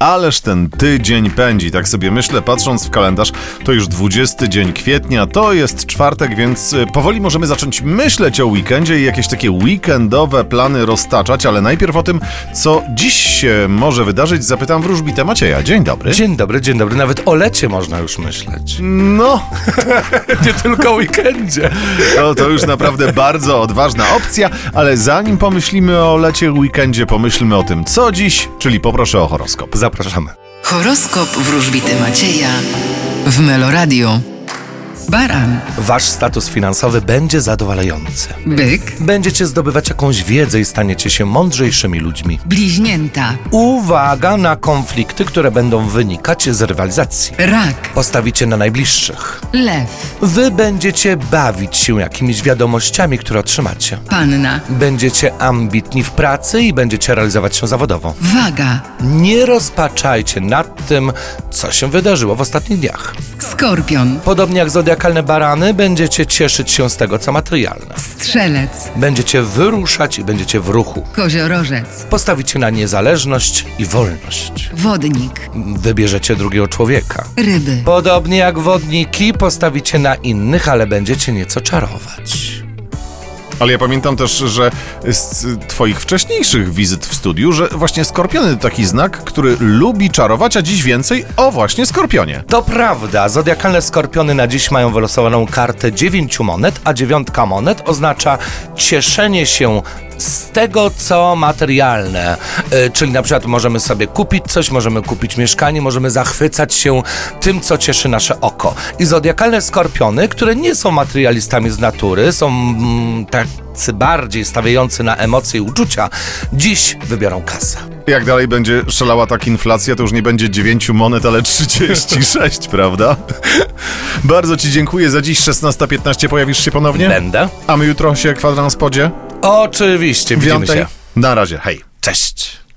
Ależ ten tydzień pędzi, tak sobie myślę, patrząc w kalendarz, to już 20 dzień kwietnia, to jest czwartek, więc y, powoli możemy zacząć myśleć o weekendzie i jakieś takie weekendowe plany roztaczać, ale najpierw o tym, co dziś się może wydarzyć, zapytam wróżbitę Macieja. Dzień dobry. Dzień dobry, dzień dobry. Nawet o lecie można już myśleć. No, Nie tylko o weekendzie. to, to już naprawdę bardzo odważna opcja, ale zanim pomyślimy o lecie, weekendzie, pomyślmy o tym, co dziś, czyli poproszę o horoskop. Zapraszamy. Horoskop wróżbity Macieja w Meloradio. Baran, Wasz status finansowy będzie zadowalający. byk, Będziecie zdobywać jakąś wiedzę i staniecie się mądrzejszymi ludźmi. bliźnięta, Uwaga na konflikty, które będą wynikać z rywalizacji. rak, Postawicie na najbliższych. lew, Wy będziecie bawić się jakimiś wiadomościami, które otrzymacie. panna, Będziecie ambitni w pracy i będziecie realizować się zawodowo. waga, Nie rozpaczajcie nad tym, co się wydarzyło w ostatnich dniach. skorpion, Podobnie jak zodiakalne barany, będziecie cieszyć się z tego, co materialne. strzelec, Będziecie wyruszać i będziecie w ruchu. koziorożec, Postawicie na niezależność i wolność. wodnik, Wybierzecie drugiego człowieka. ryby. Podobnie jak wodniki, postawicie na innych, ale będziecie nieco czarować. Ale ja pamiętam też, że z Twoich wcześniejszych wizyt w studiu, że właśnie skorpiony to taki znak, który lubi czarować, a dziś więcej o właśnie skorpionie. To prawda, zodiakalne skorpiony na dziś mają wylosowaną kartę dziewięciu monet, a dziewiątka monet oznacza cieszenie się z tego, co materialne. E, Czyli na przykład możemy sobie kupić coś, możemy kupić mieszkanie, możemy zachwycać się tym, co cieszy nasze oko. I zodiakalne skorpiony, które nie są materialistami z natury, są mm, tacy bardziej stawiający na emocje i uczucia, dziś wybiorą kasę. Jak dalej będzie szalała tak inflacja, to już nie będzie 9 monet, ale 36, prawda? Bardzo Ci dziękuję za dziś. 16.15 pojawisz się ponownie? Będę? A my jutro się kwadrans podzie? Oczywiście, widzimy Piątej? się. Na razie, hej.